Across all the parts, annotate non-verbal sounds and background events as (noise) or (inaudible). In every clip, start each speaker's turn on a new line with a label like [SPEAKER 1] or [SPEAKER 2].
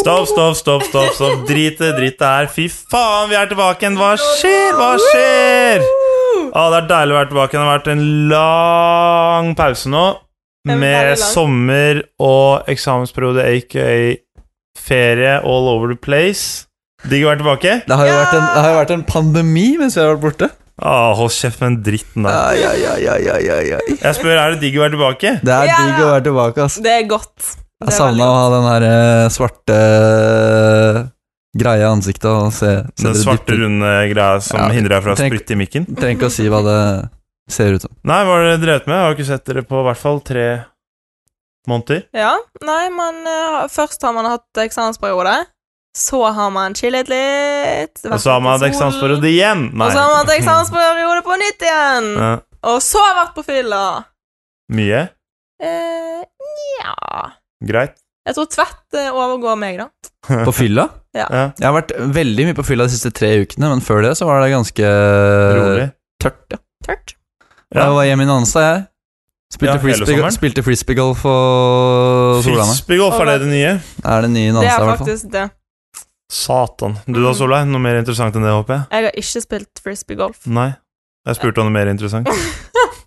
[SPEAKER 1] stopp, stopp, stopp, stopp. Drit det, drit det her. Fy faen, vi er tilbake igjen! Hva skjer? Hva skjer? Å, det er deilig å være tilbake igjen. Det har vært en lang pause nå.
[SPEAKER 2] Ja, men veldig
[SPEAKER 1] Med
[SPEAKER 2] lang.
[SPEAKER 1] sommer og eksamensperiode, aka ferie all over the place. Digg å være tilbake.
[SPEAKER 3] Det har jo vært en, det har jo vært en pandemi mens vi har vært borte.
[SPEAKER 1] Å, hold kjeft med den dritten der.
[SPEAKER 3] Ai, ai, ai, ai, ai, ai, ai.
[SPEAKER 1] Jeg spør, er det digg å være tilbake?
[SPEAKER 3] Det er
[SPEAKER 2] Ja.
[SPEAKER 3] digg å være tilbake, ass.
[SPEAKER 2] Det er godt. Det
[SPEAKER 3] Jeg
[SPEAKER 2] er
[SPEAKER 3] savna å ha den her eh, svarte greia i ansiktet og se, se
[SPEAKER 1] Den
[SPEAKER 3] dere
[SPEAKER 1] svarte,
[SPEAKER 3] dypper.
[SPEAKER 1] runde greia som
[SPEAKER 3] Ja,
[SPEAKER 1] hindrer deg fra å
[SPEAKER 3] tenk-
[SPEAKER 1] spytte i mikken?
[SPEAKER 3] Trenger ikke å si hva det ser ut som.
[SPEAKER 1] Nei, hva har dere drevet med? Jeg har ikke sett dere på i hvert fall tre måneder.
[SPEAKER 2] Ja. Nei, men eh, først har man hatt eksamensperiode. Så har man chillet litt. vært
[SPEAKER 1] Og så har man
[SPEAKER 2] ute
[SPEAKER 1] hatt
[SPEAKER 2] i solen,
[SPEAKER 1] eksamensperiode igjen! Nei.
[SPEAKER 2] Og så har man
[SPEAKER 1] (laughs)
[SPEAKER 2] hatt eksamensperiode på nytt igjen.
[SPEAKER 1] Ja.
[SPEAKER 2] Og så har jeg vært på fylla.
[SPEAKER 1] Mye?
[SPEAKER 2] Eh, Nja
[SPEAKER 1] Greit.
[SPEAKER 2] Jeg tror Tvedt eh, overgår meg, da.
[SPEAKER 3] På fylla?
[SPEAKER 1] Ja.
[SPEAKER 3] Jeg har vært veldig mye på fylla de siste tre ukene, men før det så var det ganske
[SPEAKER 1] Rolig.
[SPEAKER 3] tørt. ja.
[SPEAKER 2] Tørt.
[SPEAKER 1] Ja.
[SPEAKER 3] Jeg var hjemme i Nannestad, jeg.
[SPEAKER 1] Ja,
[SPEAKER 3] Spilte,
[SPEAKER 1] hele
[SPEAKER 3] frisbee,
[SPEAKER 1] sommeren.
[SPEAKER 3] spilte frisbeegolf og sola meg.
[SPEAKER 1] Frisbeegolf, er det det nye?
[SPEAKER 3] Det er det nye i
[SPEAKER 2] Det er
[SPEAKER 3] Nannestad, i hvert fall.
[SPEAKER 2] faktisk det.
[SPEAKER 1] Satan. Du da, Solveig? Noe mer interessant enn det, håper jeg?
[SPEAKER 2] Jeg har ikke spilt frisbeegolf.
[SPEAKER 1] Nei? Jeg spurte om noe mer interessant.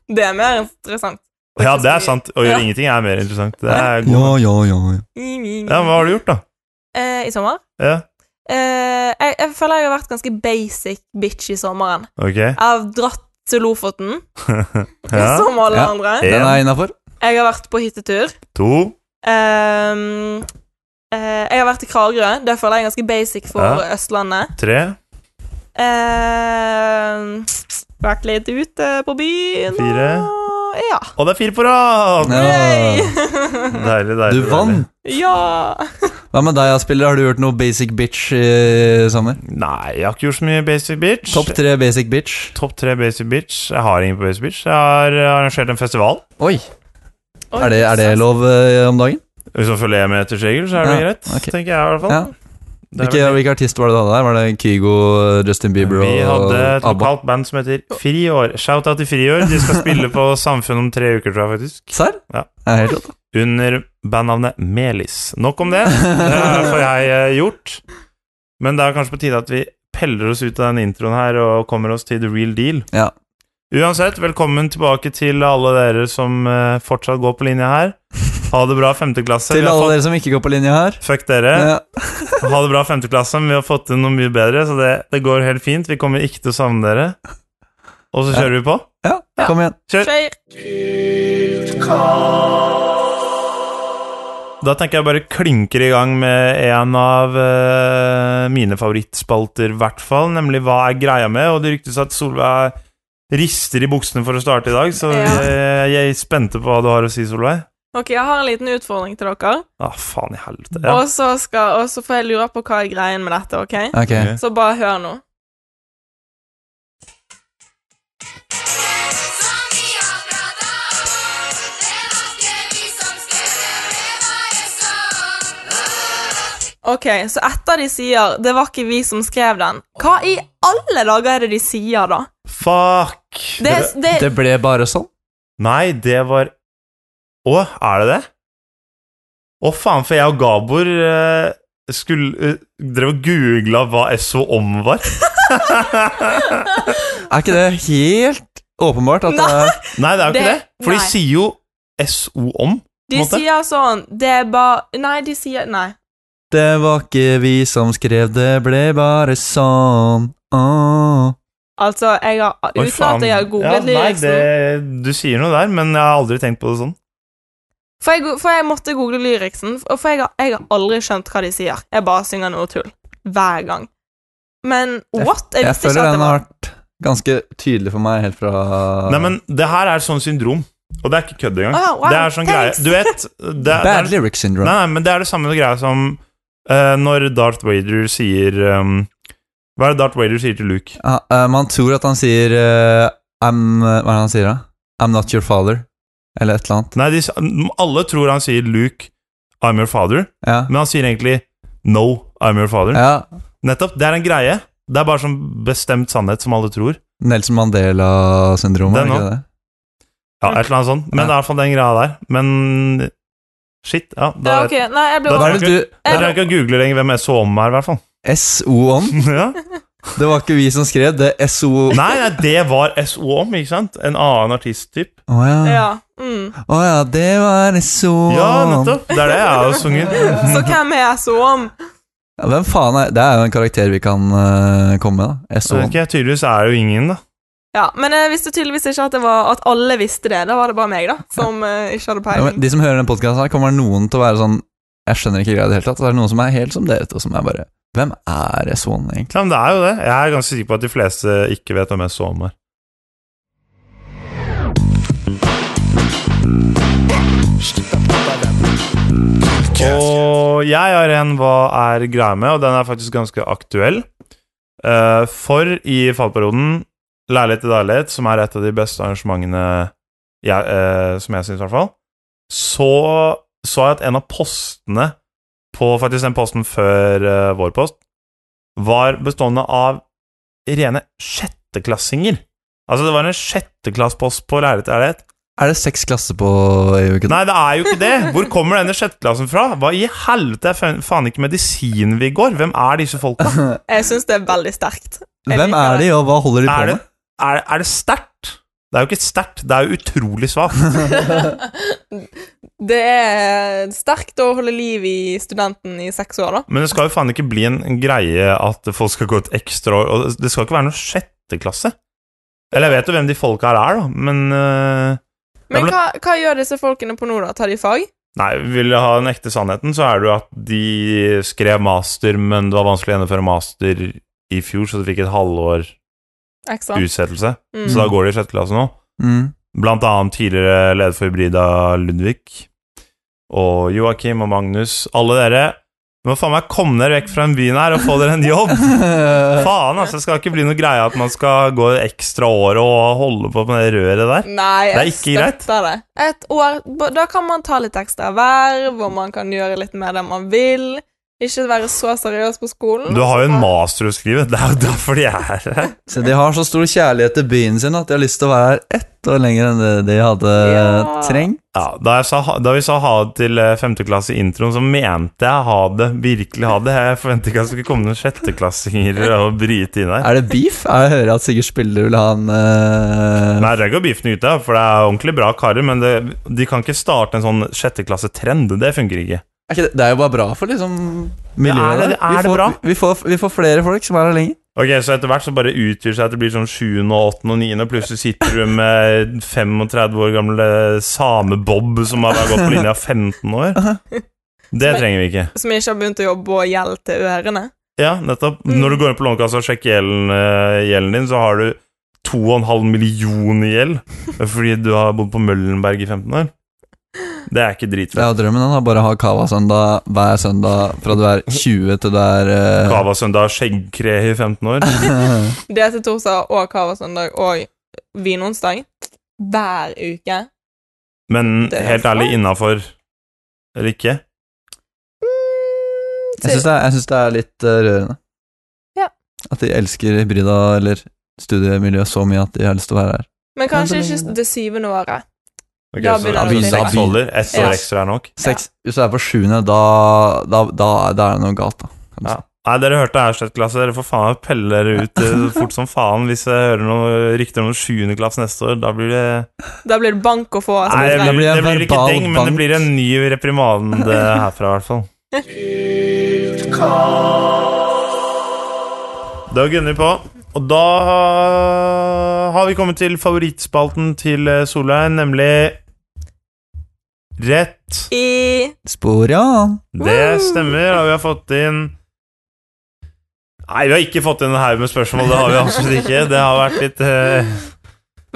[SPEAKER 2] Det er mer interessant.
[SPEAKER 1] Ja, det er sant. Å
[SPEAKER 2] Ja.
[SPEAKER 1] gjøre ingenting er mer interessant. Det er
[SPEAKER 3] Jo,
[SPEAKER 1] god.
[SPEAKER 3] jo, jo. jo.
[SPEAKER 1] Ja, hva har du gjort, da?
[SPEAKER 2] Eh, I sommer?
[SPEAKER 1] Ja,
[SPEAKER 2] Eh, jeg, jeg føler jeg har vært ganske basic bitch i sommeren.
[SPEAKER 1] ok. (laughs)
[SPEAKER 2] Jeg har dratt til Lofoten, (laughs)
[SPEAKER 1] Ja.
[SPEAKER 2] som alle
[SPEAKER 3] Ja.
[SPEAKER 2] andre.
[SPEAKER 3] Den
[SPEAKER 1] En,
[SPEAKER 3] er innafor.
[SPEAKER 2] Jeg har vært på hyttetur.
[SPEAKER 1] to
[SPEAKER 2] Ehm, eh, jeg har vært i Kragerø. Det føler jeg er ganske basic for
[SPEAKER 1] Ja.
[SPEAKER 2] Østlandet.
[SPEAKER 1] Tre.
[SPEAKER 2] Ehm, vært litt ute på byen.
[SPEAKER 1] Fire.
[SPEAKER 2] Og, ja.
[SPEAKER 1] Og det er fire på rad!
[SPEAKER 3] Ja.
[SPEAKER 2] Yay!
[SPEAKER 1] Deilig, deilig.
[SPEAKER 3] Du
[SPEAKER 1] deilig.
[SPEAKER 3] vant!
[SPEAKER 2] ja.
[SPEAKER 3] Hva med deg, spiller? Har du gjort noe basic bitch i sommer?
[SPEAKER 1] Nei, jeg har ikke gjort så mye basic bitch.
[SPEAKER 3] Topp tre basic bitch.
[SPEAKER 1] Topp tre Basic Bitch. Jeg har ingen på Basic Bitch. Jeg har eh, arrangert en festival.
[SPEAKER 3] Oi,
[SPEAKER 2] Oi,
[SPEAKER 3] er det, er det
[SPEAKER 2] sant.
[SPEAKER 3] lov eh, om dagen?
[SPEAKER 1] Hvis man følger med etter regel, så er det
[SPEAKER 3] Ja,
[SPEAKER 1] greit.
[SPEAKER 3] ok.
[SPEAKER 1] Tenker jeg, i hvert fall.
[SPEAKER 3] Ja.
[SPEAKER 1] Det er
[SPEAKER 3] Hvilke,
[SPEAKER 1] vel-
[SPEAKER 3] hvilke artist var det du hadde der? Var det Kygo, Justin Bieber
[SPEAKER 1] vi
[SPEAKER 3] og
[SPEAKER 1] hadde et
[SPEAKER 3] ABBA?
[SPEAKER 1] lokalt band som heter Friår. Shout-out til Friår. De skal spille på Samfunn om tre uker, tror jeg faktisk.
[SPEAKER 3] Serr?
[SPEAKER 1] Ja.
[SPEAKER 3] Det er helt rått.
[SPEAKER 1] Under bandnavnet Melis. Nok om
[SPEAKER 3] (laughs)
[SPEAKER 1] det. Det får jeg eh, gjort. Men det er kanskje på tide at vi peller oss ut av den introen her og kommer oss til the real deal.
[SPEAKER 3] Ja.
[SPEAKER 1] Uansett, velkommen tilbake til alle dere som eh, fortsatt går på linja her. Ha det bra, femteklasse.
[SPEAKER 3] Til
[SPEAKER 1] Vi har
[SPEAKER 3] alle
[SPEAKER 1] fått-
[SPEAKER 3] dere som ikke går på linje her. Eh,
[SPEAKER 1] Fuck dere.
[SPEAKER 3] Ja.
[SPEAKER 1] Ha det bra, femteklasse. Vi har fått til noe mye bedre, så det, det går helt fint. Vi kommer ikke til å savne dere. Og så kjører vi på.
[SPEAKER 3] ja, kom igjen.
[SPEAKER 1] Kjør!
[SPEAKER 2] Skjer.
[SPEAKER 1] Da tenker jeg bare klinker i gang med en av eh, mine favorittspalter, i hvert fall, nemlig Hva er greia med? Og det ryktes at Solveig rister i buksene for å starte i dag, så
[SPEAKER 2] Ja.
[SPEAKER 1] eh, jeg er spente på hva du har å si, Solveig.
[SPEAKER 2] Ok, jeg har en liten utfordring til dere.
[SPEAKER 1] Ah, faen i helvete. Ja.
[SPEAKER 2] Og så skal, og så får jeg lure på hva er greien med dette, ok?
[SPEAKER 3] Ok.
[SPEAKER 1] Ok.
[SPEAKER 2] Så bare hør nå. Ok, så etter de sier 'det var ikke vi som skrev den', hva i alle dager er det de sier, da?
[SPEAKER 1] Fuck!
[SPEAKER 2] Det, det,
[SPEAKER 3] Det ble bare sånn.
[SPEAKER 1] Nei, det var Å, er det det? Å, faen, for jeg og Gabor eh, skulle eh, Drev og googla hva SO om var. (laughs)
[SPEAKER 3] Er ikke det helt åpenbart at det er
[SPEAKER 1] Nei, det er jo ikke det.
[SPEAKER 2] Det-
[SPEAKER 1] For
[SPEAKER 2] nei.
[SPEAKER 1] de sier jo SO om.
[SPEAKER 2] de
[SPEAKER 1] måte.
[SPEAKER 2] sier sånn 'det er bare Nei, de sier Nei.
[SPEAKER 3] Det var ikke vi som skrev, det ble bare sånn. Åh.
[SPEAKER 2] Altså, jeg har,
[SPEAKER 1] Oi,
[SPEAKER 2] uten
[SPEAKER 1] faen.
[SPEAKER 2] at jeg har googlet
[SPEAKER 1] ja, nei,
[SPEAKER 2] lyriksen
[SPEAKER 1] det, Du sier noe der, men jeg har aldri tenkt på det sånn.
[SPEAKER 2] for, jeg, go- for jeg måtte google lyriksen, og for jeg har, jeg har aldri skjønt hva de sier. Jeg bare synger noe tull. Hver gang. Men what? Jeg
[SPEAKER 3] Jeg
[SPEAKER 2] visste
[SPEAKER 3] føler
[SPEAKER 2] ikke at det
[SPEAKER 3] den har
[SPEAKER 2] var
[SPEAKER 3] vært ganske tydelig for meg helt fra
[SPEAKER 1] Nei, men det her er sånn syndrom. Og det er ikke kødd engang.
[SPEAKER 2] Å, wow,
[SPEAKER 1] det er sånn greie
[SPEAKER 2] thanks.
[SPEAKER 1] Du
[SPEAKER 2] (laughs)
[SPEAKER 1] vet det, det er,
[SPEAKER 3] Bad lyric syndrome.
[SPEAKER 1] Nei, nei, men det er det samme greia som eh, når Darth Vader sier ehm, Hva er det Darth Vader sier til Luke?
[SPEAKER 3] Ja, eh, man tror at han sier eh, I'm, eh, Hva er det han sier da? I'm not your father. Eller et eller annet.
[SPEAKER 1] Nei, de, sa- alle tror han sier Luke, I'm your father,
[SPEAKER 3] Ja.
[SPEAKER 1] men han sier egentlig No, I'm your father.
[SPEAKER 3] ja.
[SPEAKER 1] Nettopp. Det er en greie. Det er bare sånn bestemt sannhet som alle tror.
[SPEAKER 3] Nelson Mandela-syndromet.
[SPEAKER 1] Den
[SPEAKER 3] er det ikke det?
[SPEAKER 1] Ja, et eller annet sånt. Men
[SPEAKER 3] Ja.
[SPEAKER 1] det er i hvert fall den greia der. Men Shit. Ja, da,
[SPEAKER 2] Ja, ok. Nei, jeg ble
[SPEAKER 1] Da-
[SPEAKER 3] Hva er
[SPEAKER 2] bare
[SPEAKER 3] det du
[SPEAKER 1] da trenger jeg ikke å google lenger hvem SO-om er, i hvert fall. (laughs)
[SPEAKER 3] SO-on?
[SPEAKER 1] ja.
[SPEAKER 3] Det var ikke vi som skrev det. SO...
[SPEAKER 1] Nei, nei, det var SO-om, ikke sant? En annen artisttype.
[SPEAKER 3] Å ja.
[SPEAKER 2] Ja. Mm.
[SPEAKER 3] Å ja, det var SO-on.
[SPEAKER 1] Ja, nettopp. Det er det jeg har sunget.
[SPEAKER 2] Så hvem er SO om?
[SPEAKER 3] Ja, Hvem faen er Det er jo en karakter vi kan eh, komme med, da.
[SPEAKER 1] Så
[SPEAKER 3] SO-on.
[SPEAKER 1] ok, tydeligvis er det jo ingen, da.
[SPEAKER 2] Ja, men jeg visste tydeligvis ikke at, det var, at alle visste det. Da var det bare meg, da, som eh, ikke hadde
[SPEAKER 3] Ja, men
[SPEAKER 2] peiling.
[SPEAKER 3] de som hører den podkasten her, kommer noen til å være sånn Jeg skjønner ikke greia i det hele tatt. Så er det noen som er helt som dere to, som er bare Hvem er SO-on, egentlig?
[SPEAKER 1] Ja, men det er jo det. Jeg er ganske sikker på at de fleste ikke vet hvem SO-om er. Og jeg har en Hva er greia med, og den er faktisk ganske aktuell. Eh, for i fallperioden Leilighet til leilighet, som er et av de beste arrangementene jeg, eh, som jeg syns, i hvert fall, så så jeg at en av postene på faktisk den posten før eh, vår post var bestående av rene sjetteklassinger. Altså, det var en sjetteklasspost på Leilighet til leilighet.
[SPEAKER 3] Er det seks klasser på i uken?
[SPEAKER 1] Nei, det er jo ikke det! Hvor kommer denne sjetteklassen fra? Hva i helvete er faen- faen ikke medisin vi går? Hvem er disse folka?
[SPEAKER 3] (laughs)
[SPEAKER 2] Jeg syns det er veldig sterkt. Jeg
[SPEAKER 3] Hvem
[SPEAKER 2] liker
[SPEAKER 3] er de, og hva holder de på
[SPEAKER 1] Er det,
[SPEAKER 3] med?
[SPEAKER 1] er, er det sterkt? Det er jo ikke sterkt, det er jo utrolig svakt.
[SPEAKER 2] Det er sterkt å holde liv i studenten i seks år, da.
[SPEAKER 1] Men det skal jo faen ikke bli en greie at folk skal gå et ekstra år og Det skal ikke være noe sjetteklasse. Eller jeg vet jo hvem de folka her er, da, men øh,
[SPEAKER 2] Men
[SPEAKER 1] Jeg ble-
[SPEAKER 2] hva, hva gjør disse folkene på nå, da? Tar de fag?
[SPEAKER 1] Nei, vil jeg ha den ekte sannheten, så er det jo at de skrev master, men det var vanskelig å gjennomføre master i fjor, så de fikk et halvår
[SPEAKER 2] Ekstra?
[SPEAKER 1] utsettelse.
[SPEAKER 2] Mm.
[SPEAKER 1] Så da går de i sjette klasse nå. (laughs)
[SPEAKER 3] Mm.
[SPEAKER 1] Blant annet tidligere leder for Hybrida Ludvig, og Joakim og Magnus, alle dere. Nå må faen meg komme dere vekk fra den byen her og få dere en jobb!
[SPEAKER 3] (laughs)
[SPEAKER 1] Faen, altså, det skal ikke bli noe greie at man skal gå ekstra år og holde på med det røret der.
[SPEAKER 2] Nei,
[SPEAKER 1] Det er
[SPEAKER 2] jeg
[SPEAKER 1] ikke greit.
[SPEAKER 2] støtter det. Et år, b- da kan man ta litt ekstra verv, og man kan gjøre litt mer det man vil. Ikke være så seriøs på skolen.
[SPEAKER 1] Du har jo en master å skrive, det er jo derfor de er her.
[SPEAKER 3] Så de har så stor kjærlighet til byen sin at de har lyst til å være her ett år lenger enn det de hadde
[SPEAKER 2] Ja.
[SPEAKER 3] trengt.
[SPEAKER 1] Ja, da, jeg sa, ha- da vi sa ha det til eh, femte klasse i introen, så mente jeg ha det. Virkelig ha det. Jeg forventet ikke at det skulle komme noen sjetteklassinger og bryte inn her.
[SPEAKER 3] Er det beef? Jeg hører at Sigurd Spiller vil ha en eh,
[SPEAKER 1] Nei, det er ikke å beefe den ut, da, for det er ordentlig bra karer, men det, de kan ikke starte en sånn sjetteklassetrend. Det funker ikke.
[SPEAKER 3] er ikke det, det er jo bare bra for liksom miljøet.
[SPEAKER 1] Ja, er det-
[SPEAKER 3] der.
[SPEAKER 1] er
[SPEAKER 3] vi,
[SPEAKER 1] det
[SPEAKER 3] får,
[SPEAKER 1] bra?
[SPEAKER 3] Vi, får, vi får flere folk som er her lenge.
[SPEAKER 1] Ok, Så etter hvert så bare utgjør seg at det blir sånn sjuende og åttende og niende, og plutselig sitter du med 35 år gamle same-Bob som har gått på linja 15 år. Det trenger vi ikke.
[SPEAKER 2] Som ikke har begynt å jobbe og gjeld til ørene.
[SPEAKER 1] Ja, nettopp.
[SPEAKER 2] Mm.
[SPEAKER 1] Når du går inn på Lånekassa og sjekker gjelden, eh, gjelden din, så har du 2,5 millioner i gjeld (laughs) fordi du har bodd på Møllenberg i 15 år. Det er ikke
[SPEAKER 3] Det er
[SPEAKER 1] dritfett.
[SPEAKER 3] jo drømmen han har bare å ha cava søndag hver søndag fra du er 20 til du er eh,
[SPEAKER 1] Cava-søndag, skjeggkre i 15 år.
[SPEAKER 3] (laughs)
[SPEAKER 2] Det til torsdag og kavasøndag og vinonsdag. Hver uke.
[SPEAKER 1] Men
[SPEAKER 2] Det er
[SPEAKER 1] helt ærlig,
[SPEAKER 2] sant.
[SPEAKER 1] innafor eller ikke?
[SPEAKER 2] Mm,
[SPEAKER 3] Jeg syns
[SPEAKER 2] til-
[SPEAKER 3] det, er- jeg synes det er litt eh, rørende.
[SPEAKER 2] Ja.
[SPEAKER 3] At de elsker hybrida eller studiemiljøet så mye at de har lyst til å være her.
[SPEAKER 2] Men kanskje
[SPEAKER 3] Ja, det-
[SPEAKER 2] ikke det syvende året.
[SPEAKER 1] Ok,
[SPEAKER 2] Da
[SPEAKER 1] så
[SPEAKER 2] begynner
[SPEAKER 1] altså,
[SPEAKER 3] det å bli
[SPEAKER 1] seks
[SPEAKER 3] rart.
[SPEAKER 1] holder, ett
[SPEAKER 2] Ja.
[SPEAKER 1] år ekstra er nok.
[SPEAKER 3] Seks, Hvis du er på sjuende, da, da, da, da er det noe galt, da. kan du
[SPEAKER 1] Ja.
[SPEAKER 3] si.
[SPEAKER 1] Nei, dere hørte Aurstedt-klasse. Dere får faen meg pelle dere ut
[SPEAKER 2] (laughs)
[SPEAKER 1] eh, fort som faen hvis jeg hører noe rykter om 7. klasse neste år. Da blir det
[SPEAKER 2] Da blir det bank å få. altså.
[SPEAKER 1] Nei, det
[SPEAKER 3] Det
[SPEAKER 1] blir,
[SPEAKER 3] blir en
[SPEAKER 1] det blir ikke
[SPEAKER 3] verbal
[SPEAKER 1] deng, men det
[SPEAKER 3] bank.
[SPEAKER 1] blir en ny reprimande herfra, i hvert fall. Da gunner vi på. Og da har vi kommet til favorittspalten til eh, Solveig, nemlig Rett.
[SPEAKER 2] I
[SPEAKER 3] Spor, ja.
[SPEAKER 1] Det stemmer, og vi har fått inn Nei, vi har ikke fått inn en haug med spørsmål, det har vi absolutt ikke. Det har vært litt eh,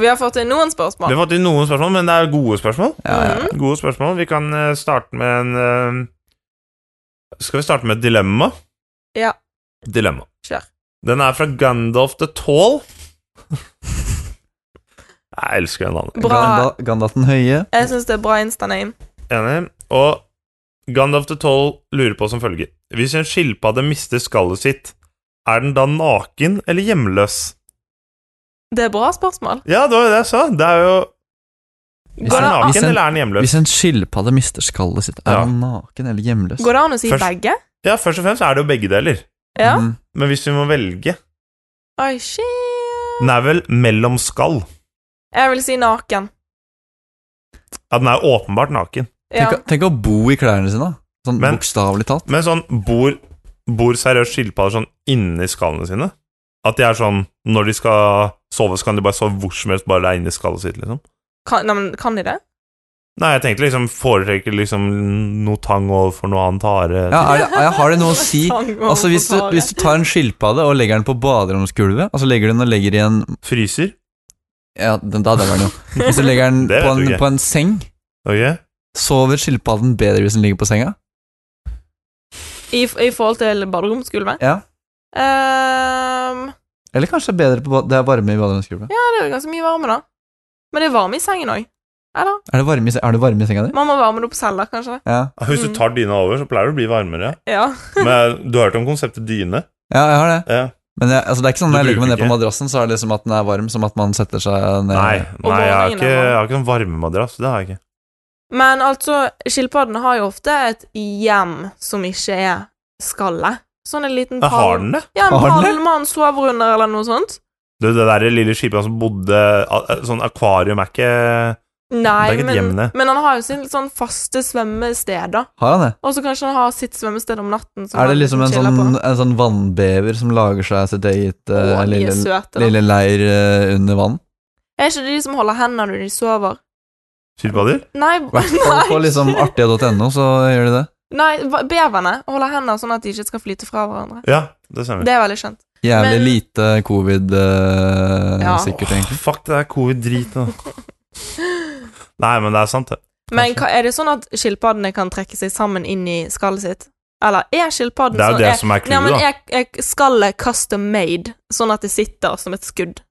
[SPEAKER 2] Vi har fått inn noen
[SPEAKER 1] Vi
[SPEAKER 2] spørsmål. Mhm.
[SPEAKER 1] har fått inn noen spørsmål, men det er gode spørsmål.
[SPEAKER 3] Ja, ja.
[SPEAKER 1] Gode spørsmål. Vi kan eh, starte med en eh, Skal vi starte med et dilemma?
[SPEAKER 2] Ja.
[SPEAKER 1] Dilemma.
[SPEAKER 2] Kjør.
[SPEAKER 1] Den er fra Gandalf the Tall. (laughs) Jeg elsker den navnet.
[SPEAKER 2] Bra.
[SPEAKER 3] Ganda- Gandalf den høye.
[SPEAKER 2] Jeg syns det er bra instaname.
[SPEAKER 1] Enig. Og Gandalf the Tall lurer på som følger Hvis en skilpadde mister skallet sitt, er den da naken eller hjemløs?
[SPEAKER 2] Det er bra spørsmål.
[SPEAKER 1] Ja, det var jo det jeg sa. Det er jo
[SPEAKER 3] Hvis
[SPEAKER 2] Går
[SPEAKER 1] Er
[SPEAKER 2] det,
[SPEAKER 1] han
[SPEAKER 3] jeg-
[SPEAKER 2] an,
[SPEAKER 3] hvis
[SPEAKER 1] naken,
[SPEAKER 3] en-
[SPEAKER 1] eller er han hjemløs?
[SPEAKER 3] Hvis en skilpadde mister skallet sitt, er
[SPEAKER 1] Ja.
[SPEAKER 3] han naken eller hjemløs?
[SPEAKER 2] går det an å si
[SPEAKER 1] Først-
[SPEAKER 2] begge?
[SPEAKER 1] Ja, først og fremst er det jo begge deler.
[SPEAKER 2] Ja.
[SPEAKER 3] Mm.
[SPEAKER 1] Men hvis vi må velge
[SPEAKER 2] Oi, shit.
[SPEAKER 1] Den er vel mellom skall.
[SPEAKER 2] Jeg vil si naken.
[SPEAKER 1] Ja, den er åpenbart naken.
[SPEAKER 2] Ja.
[SPEAKER 3] Tenk, å- tenk å bo i klærne sine, da. Sånn
[SPEAKER 1] Men-
[SPEAKER 3] bokstavelig talt.
[SPEAKER 1] Men sånn bor, bor seriøst skilpadder sånn inni skallene sine? At de er sånn Når de skal sove, så kan de bare sove hvor som helst, bare det er inni skallet sitt, liksom?
[SPEAKER 2] Kan, nei, men, kan de det?
[SPEAKER 1] Nei, jeg tenkte liksom foretrekker liksom noe tang overfor noe annet hare.
[SPEAKER 3] Ja, er
[SPEAKER 2] (laughs)
[SPEAKER 3] det, er, har det noe å si?
[SPEAKER 2] Sang og
[SPEAKER 3] Altså, hvis du,
[SPEAKER 2] vokale.
[SPEAKER 3] hvis du tar en skilpadde og legger den på baderomsgulvet, og så legger du den og legger i en
[SPEAKER 1] Fryser.
[SPEAKER 3] Ja, den, da dør
[SPEAKER 1] (laughs)
[SPEAKER 3] den jo. Hvis du legger den
[SPEAKER 1] Det vet
[SPEAKER 3] på
[SPEAKER 1] du
[SPEAKER 3] en,
[SPEAKER 1] ikke.
[SPEAKER 3] på en seng,
[SPEAKER 1] Ok?
[SPEAKER 3] sover skilpadden bedre hvis den ligger på senga?
[SPEAKER 2] I, I forhold til baderomsgulvet?
[SPEAKER 3] Ja.
[SPEAKER 2] Ehm,
[SPEAKER 3] Eller kanskje bedre på ba- Det er varme i baderomsgulvet.
[SPEAKER 2] ja, det er jo ganske mye varme, da. Men det er varme i sengen òg. Eller?
[SPEAKER 3] Er, det varme i se- er du varme i senga di?
[SPEAKER 2] Man må varme det opp selv, da, kanskje.
[SPEAKER 3] Ja.
[SPEAKER 1] Hvis du
[SPEAKER 2] Mm.
[SPEAKER 1] tar dyna over, så pleier det å bli varmere.
[SPEAKER 2] Ja.
[SPEAKER 1] Men du har hørt om konseptet dyne?
[SPEAKER 3] ja, jeg har det.
[SPEAKER 1] Ja.
[SPEAKER 3] Men jeg, altså, det er ikke sånn
[SPEAKER 1] Du
[SPEAKER 3] når jeg legger meg ned
[SPEAKER 1] bruker
[SPEAKER 3] på
[SPEAKER 1] ikke.
[SPEAKER 3] madrassen, så er det liksom at den er varm, som at man setter seg
[SPEAKER 1] Nei,
[SPEAKER 3] ned
[SPEAKER 1] nei jeg, har
[SPEAKER 2] morgenen
[SPEAKER 1] ikke,
[SPEAKER 2] er varm.
[SPEAKER 1] jeg har ikke sånn varmemadrass. Det har jeg ikke.
[SPEAKER 2] Men altså, skilpadden har jo ofte et hjem som ikke er skallet. Sånn en liten
[SPEAKER 1] Jeg har
[SPEAKER 2] palm.
[SPEAKER 1] den det?
[SPEAKER 2] Ja, en
[SPEAKER 3] Har den det?
[SPEAKER 2] palme han sover under, eller noe sånt.
[SPEAKER 1] Du, det der lille skipet som bodde a- Sånn akvarium er ikke
[SPEAKER 2] Nei,
[SPEAKER 1] Det er ikke et
[SPEAKER 2] men,
[SPEAKER 1] hjem, det.
[SPEAKER 2] men han har jo sin sånn faste svømmested, da.
[SPEAKER 3] Har han det?
[SPEAKER 2] Og så kanskje han har sitt svømmested om natten. som
[SPEAKER 3] Er det
[SPEAKER 2] han
[SPEAKER 3] liksom en
[SPEAKER 2] chiller
[SPEAKER 3] sånn,
[SPEAKER 2] på.
[SPEAKER 3] en sånn vannbever som lager seg sitt eget
[SPEAKER 2] Å,
[SPEAKER 3] eh,
[SPEAKER 2] de er
[SPEAKER 3] lille,
[SPEAKER 2] søte, da.
[SPEAKER 3] lille leir eh,
[SPEAKER 2] (laughs)
[SPEAKER 3] under vann?
[SPEAKER 2] Er ikke det de som holder hendene når de sover?
[SPEAKER 1] skilpadder?
[SPEAKER 2] Nei,
[SPEAKER 3] I hvert fall på liksom artig.no, så gjør de det.
[SPEAKER 2] nei hva- beverne holder hendene sånn at de ikke skal flyte fra hverandre.
[SPEAKER 1] Ja, det stemmer.
[SPEAKER 2] Det er veldig skjønt.
[SPEAKER 3] Jævlig
[SPEAKER 2] Men-
[SPEAKER 3] lite covid, eh,
[SPEAKER 2] Ja.
[SPEAKER 3] sikkert, egentlig.
[SPEAKER 1] Åh, fuck, det er covid-drit. da. Nei, men det er sant, det.
[SPEAKER 2] Men hva- er det sånn at skilpaddene kan trekke seg sammen inn i skallet sitt? Eller er skilpadden
[SPEAKER 1] Det er
[SPEAKER 2] sånn-
[SPEAKER 1] jo det som er
[SPEAKER 2] Nei, men
[SPEAKER 1] clouet, da.
[SPEAKER 2] jeg, jeg skallet custom made, sånn at det sitter som et skudd.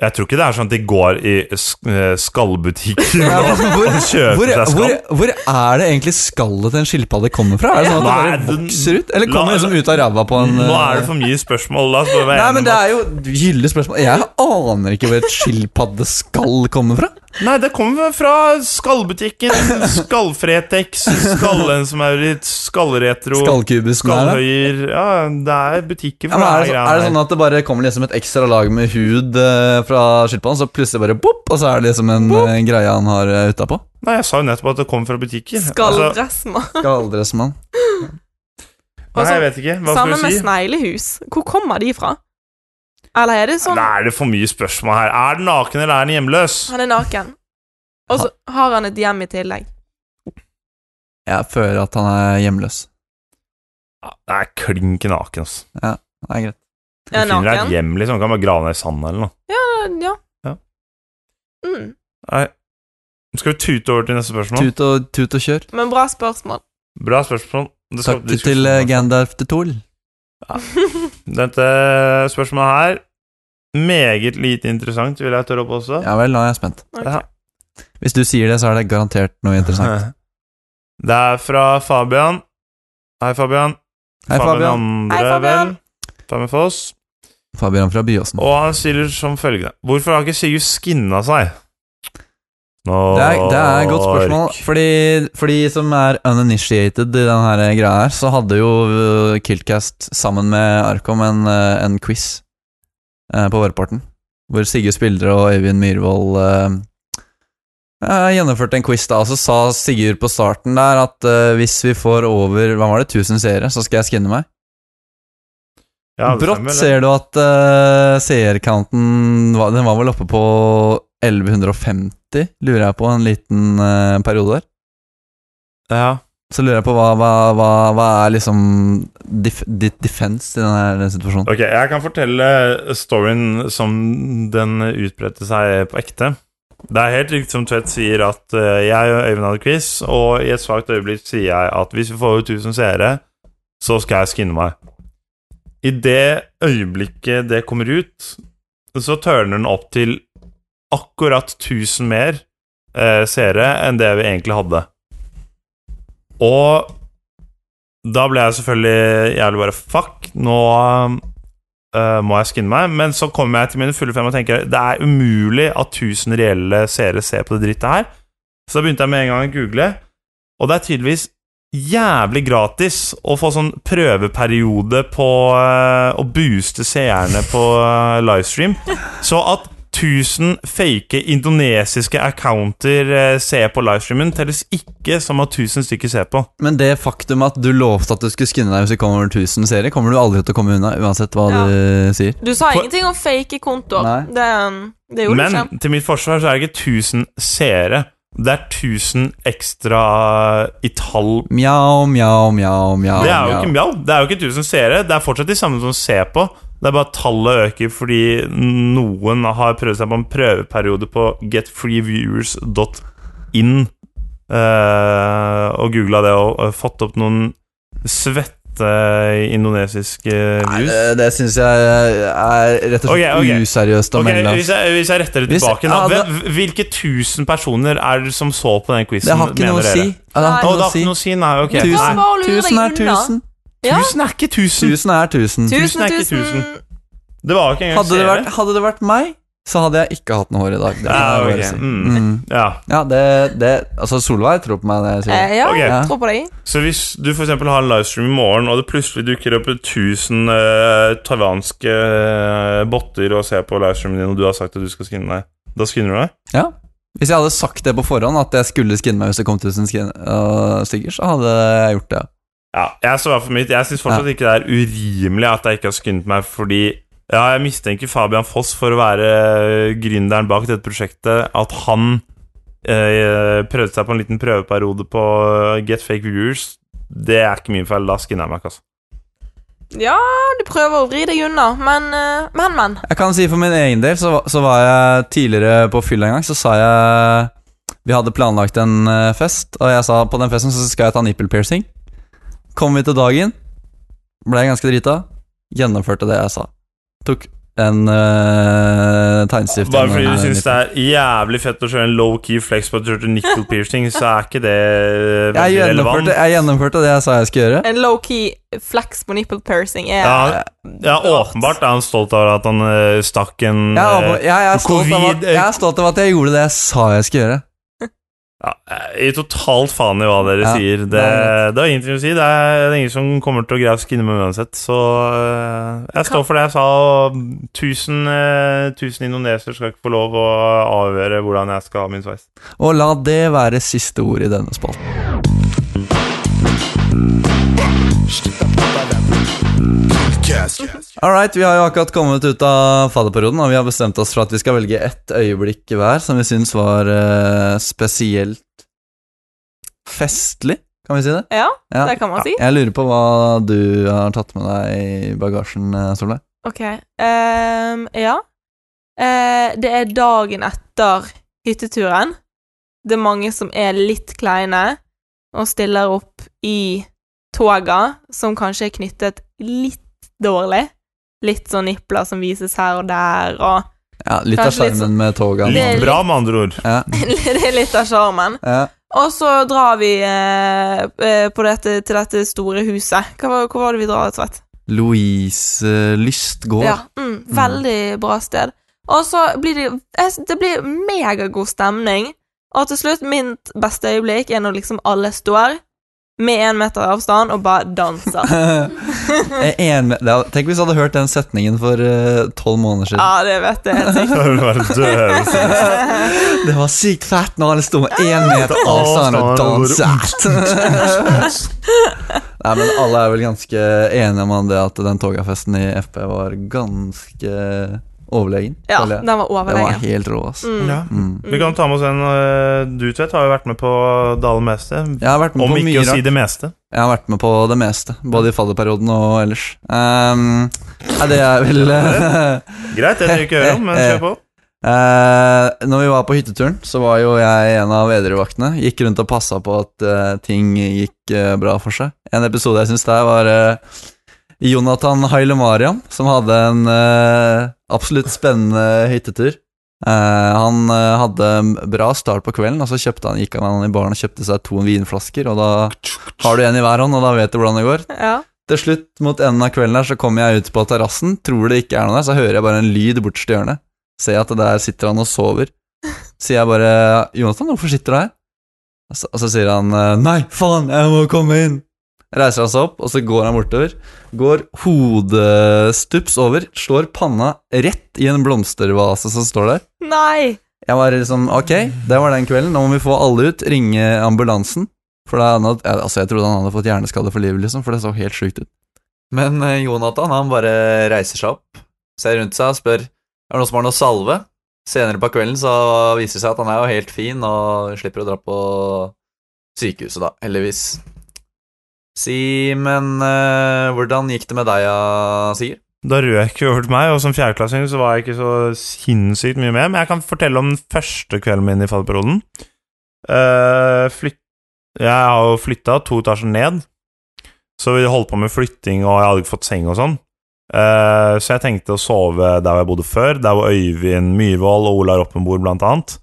[SPEAKER 1] Jeg tror ikke det er sånn at de går i sk- eh, skallbutikken
[SPEAKER 3] Ja,
[SPEAKER 1] og
[SPEAKER 3] men hvor,
[SPEAKER 1] kjøper
[SPEAKER 3] hvor,
[SPEAKER 1] seg
[SPEAKER 3] hvor,
[SPEAKER 1] skall.
[SPEAKER 3] hvor er det egentlig skallet til en skilpadde kommer fra? Er det sånn at det
[SPEAKER 1] Nei,
[SPEAKER 3] bare
[SPEAKER 1] den-
[SPEAKER 3] vokser ut? Eller kommer
[SPEAKER 1] la-
[SPEAKER 3] det liksom ut av ræva på en
[SPEAKER 1] Nå er
[SPEAKER 3] eh,
[SPEAKER 1] det for mye spørsmål, la oss bare
[SPEAKER 3] Nei,
[SPEAKER 1] være enige
[SPEAKER 3] men det
[SPEAKER 1] om at-
[SPEAKER 3] er jo gyldig spørsmål. Jeg aner ikke hvor et skilpaddeskall kommer fra.
[SPEAKER 1] Nei, det kommer fra skallbutikken. Skallfretex, Skallensmaurit, Skallretro,
[SPEAKER 3] Skallkubusen her, da.
[SPEAKER 1] Skallhøyer Ja, det er butikker
[SPEAKER 3] Ja,
[SPEAKER 1] for
[SPEAKER 3] men
[SPEAKER 1] det
[SPEAKER 3] er,
[SPEAKER 1] her
[SPEAKER 3] det så,
[SPEAKER 1] greiene
[SPEAKER 3] er det
[SPEAKER 1] her.
[SPEAKER 3] sånn at det bare kommer liksom et ekstra lag med hud eh, fra skilpadden, så plutselig bare bopp, og så er det liksom en eh, greie han har uh, utapå?
[SPEAKER 1] Nei, jeg sa jo nettopp at det kom fra butikker. Altså,
[SPEAKER 2] Skallrestma.
[SPEAKER 3] Skalldressmann.
[SPEAKER 1] nei, jeg vet ikke. Hva skal
[SPEAKER 2] Samme
[SPEAKER 1] du
[SPEAKER 2] med
[SPEAKER 1] si?
[SPEAKER 2] sneglehus. Hvor kommer de fra? Eller er det sånn
[SPEAKER 1] Nei, er det for mye spørsmål her? Er den naken, eller er den hjemløs?
[SPEAKER 2] han er naken, og så har han et hjem i tillegg?
[SPEAKER 3] Jeg føler at han er hjemløs.
[SPEAKER 1] Det er klinke naken, ass.
[SPEAKER 3] Det er greit.
[SPEAKER 1] Du
[SPEAKER 2] Er
[SPEAKER 1] finner deg et
[SPEAKER 2] naken?
[SPEAKER 1] hjem, liksom. Du Kan bare grave ned i sanden eller noe.
[SPEAKER 2] Ja.
[SPEAKER 1] Ja.
[SPEAKER 2] Mm.
[SPEAKER 1] Nei. Skal vi tute over til neste spørsmål?
[SPEAKER 3] Tut og, tut og kjør.
[SPEAKER 2] Men bra spørsmål.
[SPEAKER 1] Bra spørsmål. Det skal-
[SPEAKER 3] Takk
[SPEAKER 1] det skal-
[SPEAKER 3] til eh, Gandalf de Tool.
[SPEAKER 1] Dette spørsmålet her Meget lite interessant, vil jeg tørre å påstå.
[SPEAKER 3] Ja vel, nå er jeg spent.
[SPEAKER 2] (laughs) Ok.
[SPEAKER 1] Ja.
[SPEAKER 3] Hvis du sier det, så er det garantert noe interessant.
[SPEAKER 1] (laughs) Det er fra Fabian. Hei, Fabian.
[SPEAKER 3] Hei, Fabian.
[SPEAKER 1] Andre,
[SPEAKER 2] Hei, Fabian.
[SPEAKER 1] venn. Fabian Foss.
[SPEAKER 3] Fabian fra Byåsen.
[SPEAKER 1] Og han stiller som følgende Hvorfor har ikke Sigurd skinna seg? Nå-
[SPEAKER 3] Det er, det er et godt spørsmål. Fordi, for de som er uninitiated i denne her greia her, så hadde jo uh, Kiltcast sammen med Arkom en, uh, en quiz uh, på vårparten. Hvor Sigurd Spildre og Øyvind Myhrvold uh, uh, gjennomførte en quiz da. Og så sa Sigurd på starten der at uh, hvis vi får over hva var det, 1000 seere, så skal jeg skinne meg.
[SPEAKER 1] Ja, det
[SPEAKER 3] Brått
[SPEAKER 1] stemmer, det.
[SPEAKER 3] ser du at uh, seercounten var, den var vel oppe på 1150, lurer jeg på, en liten eh, periode der.
[SPEAKER 1] Ja.
[SPEAKER 3] Så lurer jeg på hva, hva, hva, hva er liksom dif, ditt defense i denne her situasjonen?
[SPEAKER 1] Ok, jeg kan fortelle storyen som den utbredte seg på ekte. Det er helt riktig som Tvedt sier, at eh, jeg og Øyvind hadde quiz, og i et svakt øyeblikk sier jeg at hvis vi får ut 1000 seere, så skal jeg skinne meg. I det øyeblikket det kommer ut, så tørner den opp til akkurat 1000 mer eh, seere enn det vi egentlig hadde. Og da ble jeg selvfølgelig jævlig bare Fuck, nå um, eh, må jeg skinne meg? Men så kommer jeg til mine fulle fem og tenker det er umulig at 1000 reelle seere ser på det drittet her. Så da begynte jeg med en gang å google, og det er tydeligvis jævlig gratis å få sånn prøveperiode på eh, å booste seerne på eh, livestream. Så at 1000 fake indonesiske accounter eh, ser på livestreamen, telles ikke som at 1000 stykker ser på.
[SPEAKER 3] Men det faktum at du lovte at du skulle skinne deg hvis det kommer over 1000 serier, kommer du aldri til å komme unna, uansett hva
[SPEAKER 2] Ja.
[SPEAKER 3] du sier.
[SPEAKER 2] Du sa
[SPEAKER 1] For-
[SPEAKER 2] ingenting om fake kontoer.
[SPEAKER 3] Nei.
[SPEAKER 2] Det, um, det gjorde du ikke.
[SPEAKER 1] Men til mitt forsvar så er det ikke 1000 seere. Det er 1000 ekstra i tall.
[SPEAKER 3] Mjau, mjau, mjau, mjau.
[SPEAKER 1] Det er jo ikke
[SPEAKER 3] mjau.
[SPEAKER 1] mjau. Det er jo ikke 1000 seere. Det er fortsatt de samme som ser på. Det er bare at tallet øker fordi noen har prøvd seg på en prøveperiode på getfreeviewers.in eh, og googla det og, og fått opp noen svette indonesiske
[SPEAKER 3] Nei,
[SPEAKER 1] views.
[SPEAKER 3] det, det syns jeg er rett og slett
[SPEAKER 1] Ok, ok.
[SPEAKER 3] useriøst å
[SPEAKER 1] Ok,
[SPEAKER 3] melde.
[SPEAKER 1] hvis, jeg, hvis jeg retter det
[SPEAKER 3] Hvis-
[SPEAKER 1] tilbake, da.
[SPEAKER 3] ja, da-
[SPEAKER 1] Hvem- Hvilke tusen personer er det som så på den quizen?
[SPEAKER 3] Det har ikke noe å si. Ja, Det
[SPEAKER 2] Nei.
[SPEAKER 1] Å,
[SPEAKER 3] har ikke
[SPEAKER 1] det
[SPEAKER 3] noe
[SPEAKER 1] har
[SPEAKER 3] å si.
[SPEAKER 1] ikke noe å si, nei. ok
[SPEAKER 2] Tusen. Bare
[SPEAKER 1] nei.
[SPEAKER 2] lurer jeg
[SPEAKER 3] Tusen er
[SPEAKER 2] unna.
[SPEAKER 3] tusen.
[SPEAKER 2] Ja.
[SPEAKER 1] tusen er ikke tusen!
[SPEAKER 3] Tusen er tusen.
[SPEAKER 1] Tusen er ikke tusen. Det var ikke engang
[SPEAKER 3] Hadde det,
[SPEAKER 1] seere.
[SPEAKER 3] vært, hadde det vært meg, så hadde jeg ikke hatt noe hår i dag. Det
[SPEAKER 1] Ja,
[SPEAKER 3] kan jeg
[SPEAKER 1] ok.
[SPEAKER 3] bare si.
[SPEAKER 1] Mm.
[SPEAKER 3] Mm.
[SPEAKER 1] Ja.
[SPEAKER 3] Ja, det, det Altså, Solveig tror på meg når jeg sier det.
[SPEAKER 2] Eh, ja,
[SPEAKER 1] Ok.
[SPEAKER 2] jeg tror på deg.
[SPEAKER 1] Så hvis du for eksempel har en livestream i morgen, og det plutselig dukker opp 1000 uh, taiwanske eh, botter og ser på livestreamen din, og du har sagt at du skal skinne deg, da skinner du deg?
[SPEAKER 3] Ja. Hvis jeg hadde sagt det på forhånd, at jeg skulle skinne meg hvis det kom 1000 skin- øh, stykker, så hadde jeg gjort det.
[SPEAKER 1] Ja, jeg står for mitt. Jeg syns fortsatt ikke det er urimelig at jeg ikke har skyndet meg, fordi ja, jeg mistenker Fabian Foss for å være eh, gründeren bak dette prosjektet. At han eh, prøvde seg på en liten prøveperiode på eh, Get Fake Viewers. Det er ikke min feil. Da skinner jeg meg ikke, altså.
[SPEAKER 2] Ja, du prøver å vri deg unna, men, eh, men, men.
[SPEAKER 3] Jeg kan si for min egen del, så, så var jeg tidligere på fylla en gang, så sa jeg Vi hadde planlagt en eh, fest, og jeg sa på den festen så skal jeg ta nipple piercing. Kom vi til dagen, ble jeg ganske drita, gjennomførte det jeg sa. Tok en uh, tegnestift
[SPEAKER 1] Bare
[SPEAKER 3] gjennom
[SPEAKER 1] fordi du
[SPEAKER 3] en
[SPEAKER 1] syns det
[SPEAKER 3] nipple.
[SPEAKER 1] er jævlig fett å kjøre en low-key flex på at du kjørte nickel piercing, så er ikke det
[SPEAKER 3] jeg
[SPEAKER 1] veldig relevant.
[SPEAKER 3] gjennomførte, jeg gjennomførte det jeg sa jeg skulle gjøre.
[SPEAKER 2] En low-key flex på nipple piercing er
[SPEAKER 1] Ja, han- ja, åpenbart er han stolt over at han eh, stakk en
[SPEAKER 3] Jeg er,
[SPEAKER 1] eh,
[SPEAKER 3] over- jeg, er stolt av at,
[SPEAKER 1] Covid-
[SPEAKER 3] jeg er stolt av at jeg gjorde det jeg sa jeg skulle gjøre.
[SPEAKER 1] Ja, jeg gir totalt faen i hva dere
[SPEAKER 3] Ja,
[SPEAKER 1] sier. Det,
[SPEAKER 3] det er
[SPEAKER 1] det har ingenting å si. Det er, det er ingen som kommer til å greie å skinne meg uansett. Så øh, jeg står for det jeg sa. Og 1000, øh, 1000 indonesere skal ikke få lov å avgjøre hvordan jeg skal ha min sveis.
[SPEAKER 3] Og la det være siste ord i denne spalten. All right, vi har jo akkurat kommet ut av fadderperioden, og vi har bestemt oss for at vi skal velge ett øyeblikk hver som vi syns var eh, spesielt festlig, kan vi si det?
[SPEAKER 2] Ja,
[SPEAKER 3] Ja.
[SPEAKER 2] det kan man si.
[SPEAKER 3] Jeg lurer på hva du har tatt med deg i bagasjen, eh, Solveig.
[SPEAKER 2] Ok. ehm, ja. Eh, det er dagen etter hytteturen. Det er mange som er litt kleine og stiller opp i toga som kanskje er knyttet litt dårlig. Litt sånn nipler som vises her og der, og (laughs)
[SPEAKER 3] Ja, litt av
[SPEAKER 2] Kanskje litt sånn
[SPEAKER 3] skjermen med toga.
[SPEAKER 2] Det er
[SPEAKER 1] Litt bra, med andre ord. (laughs)
[SPEAKER 3] Ja,
[SPEAKER 2] Det er litt av sjarmen.
[SPEAKER 3] ja.
[SPEAKER 2] Og så drar vi eh, eh, på dette, til dette store huset. Hva, var- hvor var det vi drar, Tvedt?
[SPEAKER 3] Louise Lystgård.
[SPEAKER 2] Ja, mm, veldig bra sted. Og så blir det jeg s- Det blir megagod stemning. Og til slutt, mitt beste øyeblikk er når liksom alle står med én meter avstand og bare danser.
[SPEAKER 3] (laughs) Jeg er enig med- Ja, Tenk hvis jeg hadde hørt den setningen for eh, tolv måneder siden.
[SPEAKER 2] Ja, det vet jeg helt sikkert.
[SPEAKER 1] Det vil være døveste.
[SPEAKER 3] Det var sykt fett når alle sto med én meter avstand og danset! (laughs) Nei, men alle er vel ganske enige om det at den togafesten i FP var ganske overlegen.
[SPEAKER 2] Ja,
[SPEAKER 3] føler jeg.
[SPEAKER 2] den var
[SPEAKER 3] det var
[SPEAKER 2] overlegen.
[SPEAKER 3] helt rå, ass.
[SPEAKER 2] Mm.
[SPEAKER 1] Ja.
[SPEAKER 3] Mm.
[SPEAKER 1] Vi kan ta med oss en øh, Du Tvedt har jo vært med på det aller meste.
[SPEAKER 3] Jeg har vært med
[SPEAKER 1] Om
[SPEAKER 3] på
[SPEAKER 1] ikke
[SPEAKER 3] mye
[SPEAKER 1] å si
[SPEAKER 3] rart.
[SPEAKER 1] det meste.
[SPEAKER 3] Jeg har vært med på det meste, både i fadderperioden og ellers. Um, nei, det er vel
[SPEAKER 2] (laughs)
[SPEAKER 3] (laughs)
[SPEAKER 1] Greit, det trenger vi ikke høre om, men kjør på.
[SPEAKER 3] Eh, når vi var på hytteturen, så var jo jeg en av edruvaktene. Gikk rundt og passa på at eh, ting gikk eh, bra for seg. En episode jeg syns der, var eh, Jonathan Haile Mariam, som hadde en eh, absolutt spennende hyttetur. Eh, han eh, hadde en bra start på kvelden, og så kjøpte han, gikk han i baren og kjøpte seg to vinflasker, og da har du en i hver hånd, og da vet du hvordan det går.
[SPEAKER 2] Ja.
[SPEAKER 3] Til slutt, mot enden av kvelden her, så kommer jeg ut på terrassen, tror det ikke er noen der, så hører jeg bare en lyd bortst til hjørnet. Ser jeg at der sitter han og sover. Sier jeg bare 'Jonathan, hvorfor sitter du her?' Og så, og så sier han eh, 'Nei, faen, jeg må komme inn'. Reiser han seg opp, og så går han bortover. Går hodestups over, slår panna rett i en blomstervase som står der.
[SPEAKER 2] Nei!
[SPEAKER 3] Jeg var liksom Ok, det var den kvelden. Nå må vi få alle ut. Ringe ambulansen. For da, hadde- jeg- altså, jeg trodde han hadde fått hjerneskade for livet, liksom, for det så helt sjukt ut.
[SPEAKER 4] Men eh, Jonathan han bare reiser seg opp, ser rundt seg og spør Er det noen som har noe salve. Senere på kvelden så viser det seg at han er jo helt fin og slipper å dra på sykehuset, da, heldigvis. Si, men eh, hvordan gikk det med deg, ja, Sigurd?
[SPEAKER 1] Da røk jo over til meg, og som fjerdeklassing så var jeg ikke så sinnssykt mye med, men jeg kan fortelle om den første kvelden min i fallperioden. Eh, flytt, jeg har jo flytta to etasjer ned, så vi holdt på med flytting, og jeg hadde ikke fått seng og sånn. Eh, så jeg tenkte å sove der hvor jeg bodde før, der hvor Øyvind Myhrvold og Ola Roppen bor, blant annet.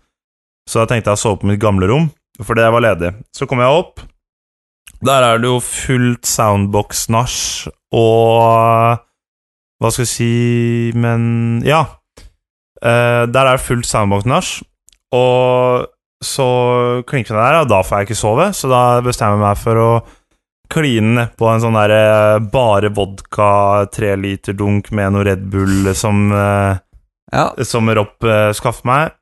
[SPEAKER 1] Så da tenkte jeg å sove på mitt gamle rom, for det var ledig. Så kom jeg opp. Der er det jo fullt soundbox-nach og hva skal jeg si Men ja. Eh, der er det fullt soundbox-nach. Og så klinker det der, og da får jeg ikke sove, så da bestemmer jeg meg for å kline nedpå en sånn derre bare vodka, tre liter dunk med noe Red Bull som, eh,
[SPEAKER 3] Ja,
[SPEAKER 1] som Ropp eh, skaffer meg.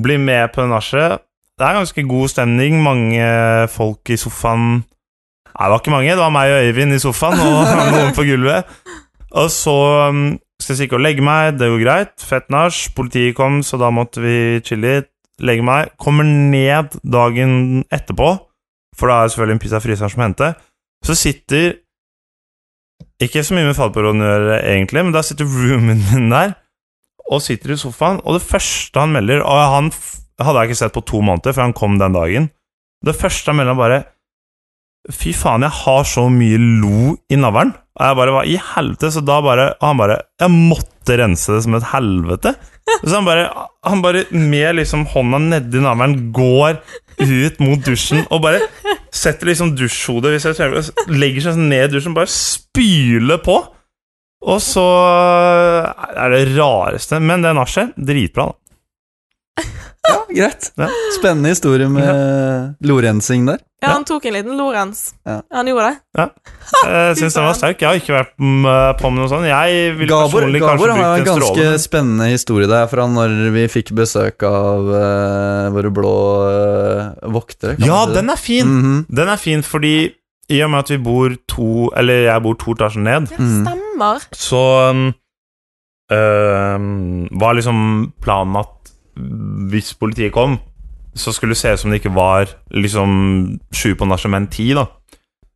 [SPEAKER 1] Blir med på det nachet. Det er ganske god stemning. Mange folk i sofaen Nei, det var ikke mange. Det var meg og Øyvind i sofaen og (laughs) noen på gulvet. Og så um, skal jeg stikke og legge meg, det går greit. Fett nach. Politiet kom, så da måtte vi chille litt. Legge meg. Kommer ned dagen etterpå, for da er det selvfølgelig en pizza i fryseren som henter. Så sitter Ikke så mye med fallperioden å gjøre, egentlig, men da sitter roomien min der og sitter i sofaen, og det første han melder Og han f- hadde jeg ikke sett på to måneder, for han kom den dagen. Det første han melder, han bare Fy faen, jeg har så mye lo i navlen. Og jeg bare Hva i helvete? Så da bare Og han bare Jeg måtte rense det som et helvete. Så han bare, han bare med liksom hånda nedi navlen går ut mot dusjen og bare setter liksom dusjhodet hvis jeg ser, Legger seg ned i dusjen, bare spyler på. Og så eh, er det rareste Men det nachet,
[SPEAKER 3] (laughs)
[SPEAKER 1] dritbra, da.
[SPEAKER 3] ja greit.
[SPEAKER 1] Ja.
[SPEAKER 3] Spennende historie med lorensing der.
[SPEAKER 2] Ja, han tok en liten Lorentz.
[SPEAKER 3] Ja.
[SPEAKER 2] Han gjorde det.
[SPEAKER 1] Jeg syns den var sterk. Jeg har ikke vært mm, på med noe sånt. Jeg ville
[SPEAKER 3] Gabor,
[SPEAKER 1] personlig kanskje
[SPEAKER 3] Gabor har en
[SPEAKER 1] brukt en
[SPEAKER 3] ganske
[SPEAKER 1] stråle.
[SPEAKER 3] spennende historie der fra når vi fikk besøk av eh, våre blå eh, voktere. kan
[SPEAKER 1] Ja,
[SPEAKER 3] man si det?
[SPEAKER 1] den er fin!
[SPEAKER 3] Mhm.
[SPEAKER 1] Den er fin fordi i og med at vi bor to Eller jeg bor to etasjer ned,
[SPEAKER 2] Ja,
[SPEAKER 3] Mm.
[SPEAKER 2] stemmer.
[SPEAKER 1] så um, øhm, var liksom planen at hvis politiet kom, så skulle det se ut som det ikke var liksom sju på nachet, men ti, da.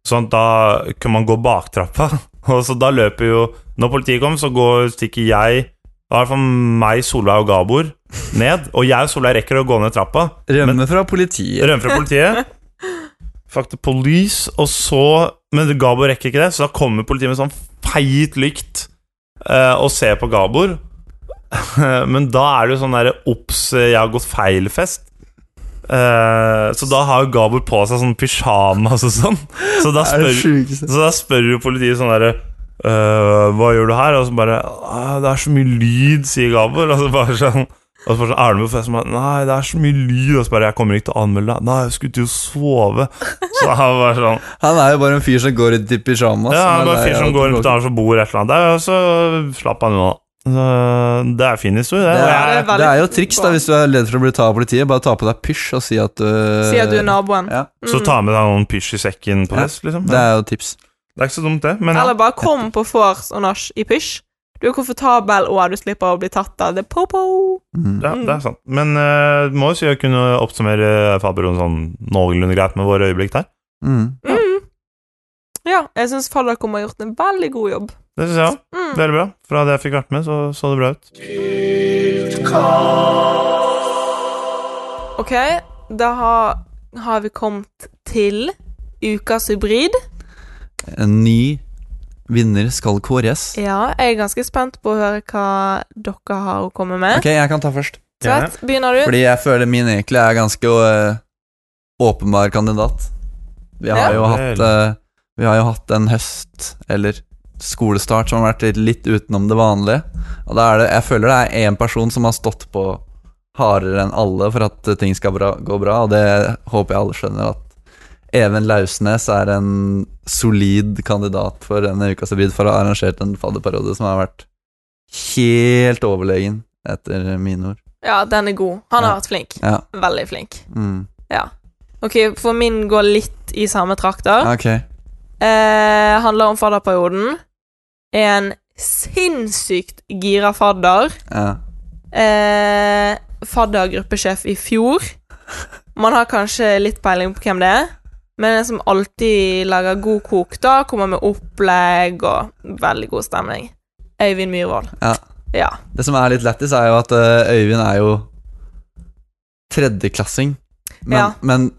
[SPEAKER 1] Sånn at da kunne man gå baktrappa. (laughs) Og så da løper jo Når politiet kom, så går, stikker jeg i hvert fall meg, Solveig og Gabor ned. Og jeg og Solveig rekker å gå ned trappa.
[SPEAKER 3] Rømme fra politiet.
[SPEAKER 1] Rømme fra politiet.
[SPEAKER 3] (laughs)
[SPEAKER 1] Fuck the police. Og så Men Gabor rekker ikke det, så da kommer politiet med sånn feit lykt eh, og ser på Gabor. (laughs) men da er det jo sånn derre Ops, jeg har gått feil-fest. Eh, så da har jo Gabor på seg sånn pysjamas og sånn. Så da
[SPEAKER 3] Det er det
[SPEAKER 1] spør,
[SPEAKER 3] sjukeste.
[SPEAKER 1] så da spør jo politiet sånn derre «Øh, Hva gjør du her? Og så bare «Ah, Det er så mye lyd, sier Gabor. Og så bare sånn og så bare sånn, er du med på fest? Og han bare, Nei, det er så mye lyd. Og så bare Jeg kommer ikke til å anmelde deg. Nei, jeg skulle til å sove. Så han bare sånn
[SPEAKER 3] Han er jo bare en fyr som går ut i pysjamas.
[SPEAKER 1] Ja, han
[SPEAKER 3] er
[SPEAKER 1] er bare en fyr
[SPEAKER 3] lei av
[SPEAKER 1] som
[SPEAKER 3] at
[SPEAKER 1] går
[SPEAKER 3] det
[SPEAKER 1] rundt der og bor et eller annet der, og så slapp han unna. Så Det er en fin historie, det. Og
[SPEAKER 3] Det er-
[SPEAKER 1] jeg,
[SPEAKER 2] det
[SPEAKER 3] Det er jo triks da hvis du er redd for å bli tatt av politiet. Bare ta på deg pysj og si at du
[SPEAKER 2] Si at du er naboen.
[SPEAKER 3] Eh,
[SPEAKER 2] Mm.
[SPEAKER 3] Ja.
[SPEAKER 1] så ta med deg noen pysj i sekken på
[SPEAKER 3] Ja,
[SPEAKER 1] fest, liksom.
[SPEAKER 3] Det
[SPEAKER 1] Det
[SPEAKER 3] er jo tips.
[SPEAKER 1] er ikke så dumt, det. Men ja.
[SPEAKER 2] Eller bare kom på vors og nach i pysj. Du er komfortabel, og du slipper å bli tatt av det po-po.
[SPEAKER 3] Mhm.
[SPEAKER 1] Ja, det er sant. Men eh, må jo si å kunne oppsummere Faberon sånn noenlunde greit med våre øyeblikk der.
[SPEAKER 3] Mhm.
[SPEAKER 2] Mm. Ja, jeg syns Fallakom har gjort en veldig god jobb.
[SPEAKER 1] Det syns jeg òg.
[SPEAKER 2] Mm.
[SPEAKER 1] Veldig bra. Fra det jeg fikk vært med, så så det bra ut.
[SPEAKER 2] Ok, da har, har vi kommet til ukas hybrid.
[SPEAKER 3] En ny vinner skal kåres.
[SPEAKER 2] Ja, jeg er ganske spent på å høre hva dere har å komme med.
[SPEAKER 3] Ok, jeg kan ta først.
[SPEAKER 2] Tvedt, begynner du?
[SPEAKER 3] (laughs) Fordi jeg føler min egentlig er ganske øh, åpenbar kandidat. Vi har
[SPEAKER 1] Ja.
[SPEAKER 3] jo hatt
[SPEAKER 1] Vel.
[SPEAKER 3] øh, Vi har jo hatt en høst, eller skolestart, som har vært litt, litt utenom det vanlige. Og da er det, jeg føler det er én person som har stått på hardere enn alle for at eh, ting skal bra, gå bra, og det håper jeg alle skjønner at Even Lausnes er en solid kandidat for denne ukas hybrid for å ha arrangert en fadderparode som har vært helt overlegen, etter mine ord.
[SPEAKER 2] Ja, den er god. Han har
[SPEAKER 3] Ja.
[SPEAKER 2] vært flink.
[SPEAKER 3] Ja.
[SPEAKER 2] Veldig flink.
[SPEAKER 3] Mm.
[SPEAKER 2] Ja. Ok, for min går litt i samme trakter.
[SPEAKER 3] Ok.
[SPEAKER 2] Eh, handler om fadderperioden. En sinnssykt gira fadder.
[SPEAKER 3] Ja.
[SPEAKER 2] Eh, faddergruppesjef i fjor. Man har kanskje litt peiling på hvem det er, men en som alltid lager god kok, da, kommer med opplegg og veldig god stemning. Øyvind Myhrvold.
[SPEAKER 3] Ja.
[SPEAKER 2] Ja.
[SPEAKER 3] Det som er litt lættis, er jo at eh, Øyvind er jo tredjeklassing, men,
[SPEAKER 2] Ja.
[SPEAKER 3] men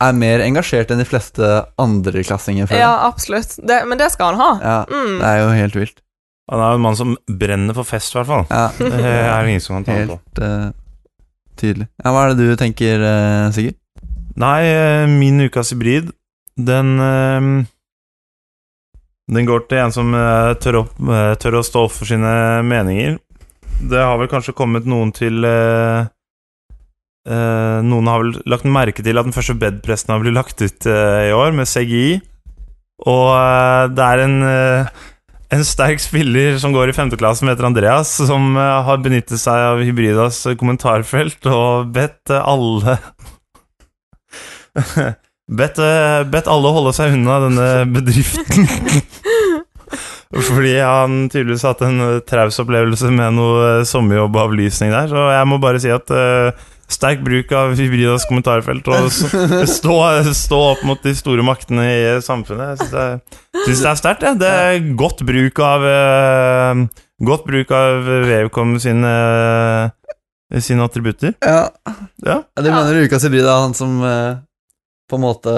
[SPEAKER 3] er mer engasjert enn de fleste andreklassinger før.
[SPEAKER 2] ja, absolutt. Det, men det skal han ha.
[SPEAKER 3] Ja,
[SPEAKER 2] Mm.
[SPEAKER 3] Det er jo helt vilt.
[SPEAKER 1] Han er jo en mann som brenner for fest, i hvert
[SPEAKER 3] (laughs)
[SPEAKER 1] fall.
[SPEAKER 3] Ja,
[SPEAKER 1] Det er det ingen som kan ta på.
[SPEAKER 3] helt eh, tydelig. Ja, hva er det du tenker, eh, Sigurd?
[SPEAKER 1] Nei, eh, min ukas hybrid, den eh, Den går til en som eh, tør, opp, eh, tør å stå opp for sine meninger. Det har vel kanskje kommet noen til eh, eh, Noen har vel lagt merke til at den første bedpressen har blitt lagt ut eh, i år, med CGI. Og eh, det er en eh, en sterk spiller som går i femte klasse, som heter Andreas, som eh, har benyttet seg av Hybridas kommentarfelt og bedt eh, alle Bedt, eh, bedt alle å holde seg unna denne bedriften. Fordi han tydeligvis har hatt en eh, traus opplevelse med noe eh, sommerjobbavlysning der. Så jeg må bare si at eh, sterk bruk av Hybridas kommentarfelt og s- stå, stå opp mot de store maktene i samfunnet. Jeg syns det, er- synes det er sterkt. jeg. Det er godt bruk av eh, Godt bruk av Wavecom sine, eh, sine attributter.
[SPEAKER 3] Ja,
[SPEAKER 1] Ja.
[SPEAKER 3] det mener du ukas hybrid er han som eh, på en måte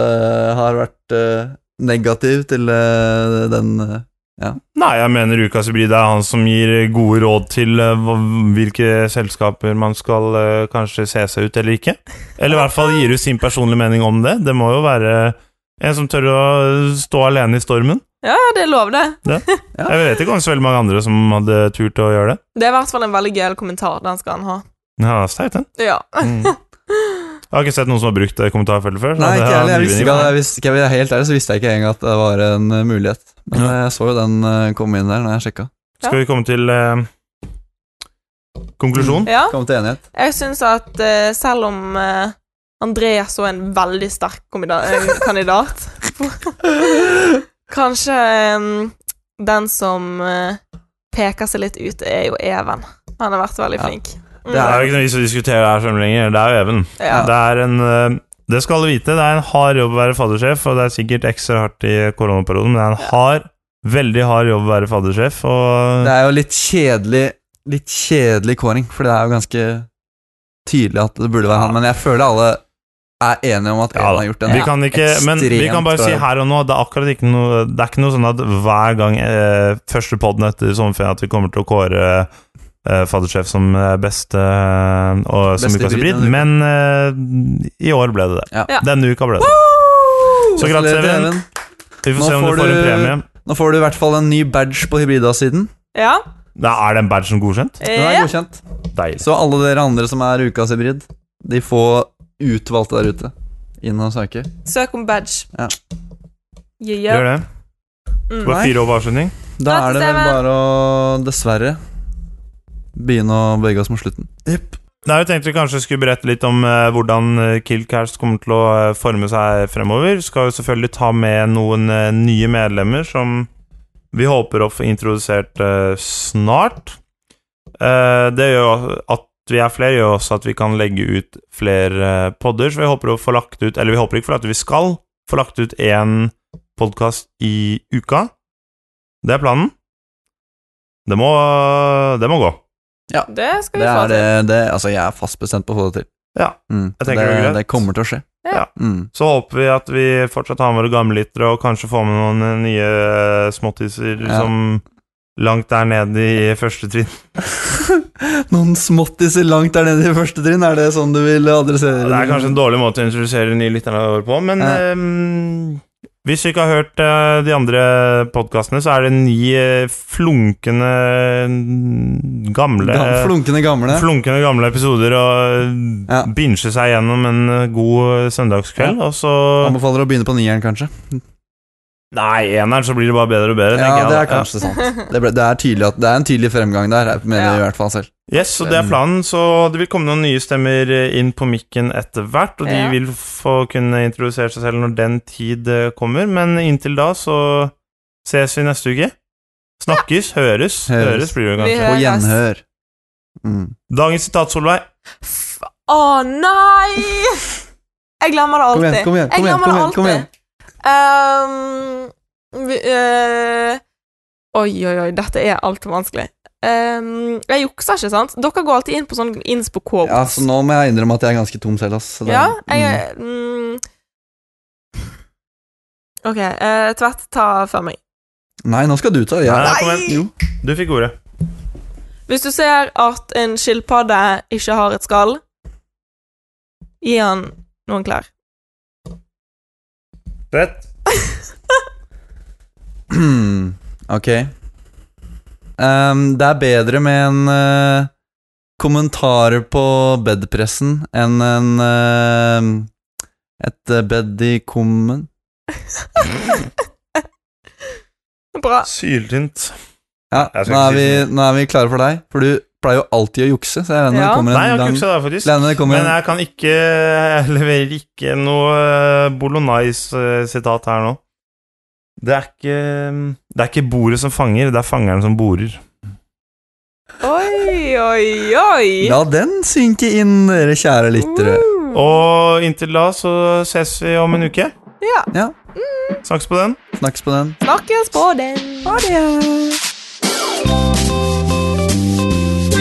[SPEAKER 3] har vært eh, negativ til eh, den eh,
[SPEAKER 1] Nei, jeg mener ukas hybrid er han som gir gode råd til eh, hva- hvilke selskaper man skal eh, kanskje se seg ut eller ikke. Eller i hvert fall gir ut sin personlige mening om det. Det må jo være en som tør å stå alene i stormen.
[SPEAKER 2] Ja, det er lov, det.
[SPEAKER 1] Jeg vet ikke om så veldig mange andre som hadde turt å gjøre det.
[SPEAKER 2] Det er i hvert fall en veldig gøyal kommentar. Den skal han ha.
[SPEAKER 1] Ja, sterkt, den.
[SPEAKER 2] Ja.
[SPEAKER 1] Jeg har ikke sett noen som har brukt det kommentarfeltet før. så
[SPEAKER 3] Mm. Nei,
[SPEAKER 1] det
[SPEAKER 3] ikke
[SPEAKER 1] er
[SPEAKER 3] heller. Jeg visste ikke,
[SPEAKER 1] nyvinning.
[SPEAKER 3] jeg visste, skal jeg være helt ærlig, så visste jeg ikke engang at det var en eh, mulighet. Men
[SPEAKER 1] Ja.
[SPEAKER 3] eh, jeg så jo den eh, komme inn der når jeg sjekka.
[SPEAKER 1] Skal vi komme til eh, konklusjon?
[SPEAKER 2] ja.
[SPEAKER 3] Kom til enighet.
[SPEAKER 2] Jeg syns at eh, selv om eh, Andreas var en veldig sterk kommida- eh, kandidat (laughs) Kanskje eh, den som eh, peker seg litt ut, er jo Even. Han har vært veldig
[SPEAKER 3] Ja.
[SPEAKER 2] flink. Mm.
[SPEAKER 1] Det er jo ikke noe vits å diskutere det her sånn lenger. Det er jo Even.
[SPEAKER 2] Ja.
[SPEAKER 1] Det er en eh, Det skal alle vite, det er en hard jobb å være faddersjef, og det er sikkert ekstra hardt i koronaperioden, men det er en hard, veldig hard jobb å være faddersjef, og
[SPEAKER 3] Det er jo litt kjedelig Litt kjedelig kåring, for det er jo ganske tydelig at det burde være han, men jeg føler alle er enige om
[SPEAKER 1] Ja
[SPEAKER 3] at Even
[SPEAKER 1] da.
[SPEAKER 3] har gjort
[SPEAKER 1] vi
[SPEAKER 3] en
[SPEAKER 1] kan ikke, men vi
[SPEAKER 3] ekstremt
[SPEAKER 1] kan bare si
[SPEAKER 3] bra.
[SPEAKER 1] her og nå, det er akkurat ikke noe Det er ikke noe sånn at hver gang eh, første podden etter sommerferien at vi kommer til å kåre eh, faddersjef som eh, beste eh, og som
[SPEAKER 3] Beste
[SPEAKER 1] ukas
[SPEAKER 3] hybrid,
[SPEAKER 1] hybrid, men eh, i år ble det det.
[SPEAKER 3] Ja.
[SPEAKER 2] Ja.
[SPEAKER 1] Denne uka ble det.
[SPEAKER 2] Woo!
[SPEAKER 1] Så gratulerer,
[SPEAKER 3] Gratulerer,
[SPEAKER 1] Even. Vi får
[SPEAKER 3] Nå
[SPEAKER 1] se om
[SPEAKER 3] får
[SPEAKER 1] du får en
[SPEAKER 3] du-
[SPEAKER 1] premie.
[SPEAKER 3] Nå får du i hvert fall en ny badge på Hybrida-siden.
[SPEAKER 2] Ja.
[SPEAKER 1] Da er den badgen godkjent?
[SPEAKER 3] Den er
[SPEAKER 2] Eh,
[SPEAKER 3] godkjent.
[SPEAKER 1] Deilig.
[SPEAKER 3] Så alle dere andre som er ukas hybrid, de få utvalgte der ute, inn og søke.
[SPEAKER 2] Søk om badge.
[SPEAKER 3] Ja.
[SPEAKER 2] Yeah, yeah.
[SPEAKER 1] Gjør det.
[SPEAKER 2] Mm.
[SPEAKER 1] Det var
[SPEAKER 3] Nei.
[SPEAKER 1] fire år på avslutning.
[SPEAKER 3] Da
[SPEAKER 2] Takk,
[SPEAKER 3] er det vel
[SPEAKER 2] Steven.
[SPEAKER 3] bare å, dessverre, begynne å bevege oss mot slutten.
[SPEAKER 1] Nei, Vi tenkte vi kanskje skulle berette litt om eh, hvordan eh, Killcast kommer til å eh, forme seg fremover. Skal jo selvfølgelig ta med noen eh, nye medlemmer som vi håper å få introdusert eh, snart. Eh, det gjør jo at vi er flere, gjør også at vi kan legge ut flere eh, podder. Så vi håper å få lagt ut Eller vi håper ikke for at vi skal få lagt ut én podkast i uka. Det er planen. Det må, det må gå.
[SPEAKER 2] Det skal vi
[SPEAKER 3] Det
[SPEAKER 2] få
[SPEAKER 3] er det,
[SPEAKER 2] til.
[SPEAKER 3] det Altså, jeg er fast bestemt på å få det til.
[SPEAKER 1] Ja,
[SPEAKER 3] Mm.
[SPEAKER 1] jeg
[SPEAKER 3] det,
[SPEAKER 1] tenker det er greit.
[SPEAKER 3] det kommer til å skje.
[SPEAKER 2] Ja.
[SPEAKER 3] Mm.
[SPEAKER 1] (laughs) Så håper vi at vi fortsatt har med våre gamle lyttere, og kanskje får med noen eh, nye eh, småttiser
[SPEAKER 3] Ja.
[SPEAKER 1] som langt der nede i første trinn.
[SPEAKER 3] Noen småttiser langt der nede i første trinn, er det sånn du vil adressere?
[SPEAKER 1] Det er kanskje en dårlig måte å introdusere nye lyttere våre på, men
[SPEAKER 3] Ja.
[SPEAKER 1] ehm, eh, Hvis du ikke har hørt eh, de andre podkastene, så er det ni eh, flunkende mm, gamle
[SPEAKER 3] Gam, flunkende gamle.
[SPEAKER 1] Flunkende gamle episoder og
[SPEAKER 3] Ja.
[SPEAKER 1] binche seg gjennom en eh, god søndagskveld, og så
[SPEAKER 3] Anbefaler å begynne på nieren, kanskje.
[SPEAKER 1] Nei, eneren, så blir det bare bedre og bedre,
[SPEAKER 3] Ja,
[SPEAKER 1] tenker jeg.
[SPEAKER 3] det
[SPEAKER 1] da.
[SPEAKER 3] er kanskje sant. Det, ble, det, er tydelig at, det er en tydelig fremgang der, jeg mener jeg i hvert fall selv.
[SPEAKER 1] Yes, så det er planen. Så det vil komme noen nye stemmer eh, inn på mikken etter hvert, og de
[SPEAKER 2] Ja.
[SPEAKER 1] vil få kunne introdusere seg selv når den tid eh, kommer. Men inntil da så ses vi neste uke. Snakkes, høres, høres,
[SPEAKER 3] Høres.
[SPEAKER 1] blir det
[SPEAKER 2] Vi
[SPEAKER 1] kanskje.
[SPEAKER 2] høres.
[SPEAKER 3] På gjenhør. Mm.
[SPEAKER 1] Dagens sitat, Solveig.
[SPEAKER 2] F- Å nei! Jeg glemmer det
[SPEAKER 3] Kom
[SPEAKER 2] alltid.
[SPEAKER 3] igjen, kom igjen,
[SPEAKER 2] Jeg
[SPEAKER 3] kom igjen.
[SPEAKER 2] glemmer det
[SPEAKER 3] Kom igjen, kom
[SPEAKER 2] alltid.
[SPEAKER 3] igjen.
[SPEAKER 2] Ehm, vi, eh, oi, oi, oi, dette er altfor vanskelig. Ehm, jeg jukser ikke, sant? Dere går alltid inn på sånn inns på quotes.
[SPEAKER 3] Ja, sånn så nå må jeg innrømme at jeg er ganske tom selv, ass. Så det-
[SPEAKER 2] Ja,
[SPEAKER 3] mm.
[SPEAKER 2] jeg mm. Ok, eh, Tvedt, ta før meg.
[SPEAKER 3] Nei, nå skal du ta det.
[SPEAKER 1] Nei,
[SPEAKER 3] Ja.
[SPEAKER 1] kom igjen.
[SPEAKER 3] Jo.
[SPEAKER 1] Du fikk ordet.
[SPEAKER 2] Hvis du ser at en skilpadde ikke har et skall, gi han noen klær. (laughs)
[SPEAKER 1] Rett.
[SPEAKER 3] (clears throat) ok. Ehm, det er bedre med en eh, kommentarer på bedpressen enn en eh, et eh, bed i kummen.
[SPEAKER 2] Bra.
[SPEAKER 1] Syltynt.
[SPEAKER 3] Ja,
[SPEAKER 1] Jeg skal
[SPEAKER 3] nå
[SPEAKER 1] ikke
[SPEAKER 3] er, vi,
[SPEAKER 1] si
[SPEAKER 3] nå er vi klare for deg, for du pleier jo alltid å jukse. Så jeg regner med
[SPEAKER 2] Ja.
[SPEAKER 3] det kommer
[SPEAKER 1] Nei, jeg har
[SPEAKER 3] en
[SPEAKER 1] ikke
[SPEAKER 3] lang
[SPEAKER 1] juksa der, faktisk.
[SPEAKER 3] Lene, det kommer
[SPEAKER 1] Men
[SPEAKER 3] en-
[SPEAKER 1] jeg kan ikke Jeg (laughs) leverer ikke noe eh, Bolognese-sitat her nå. Det er ikke mm, Det er ikke bordet som fanger, det er fangeren som borer.
[SPEAKER 2] Oi, oi, oi.
[SPEAKER 3] La den synke inn, dere kjære lyttere.
[SPEAKER 2] Uh.
[SPEAKER 1] Og inntil da så ses vi om en uke.
[SPEAKER 2] Ja.
[SPEAKER 3] Ja.
[SPEAKER 1] Snakkes på den.
[SPEAKER 3] Snakkes på den.
[SPEAKER 2] Snakkes på den. Ha det.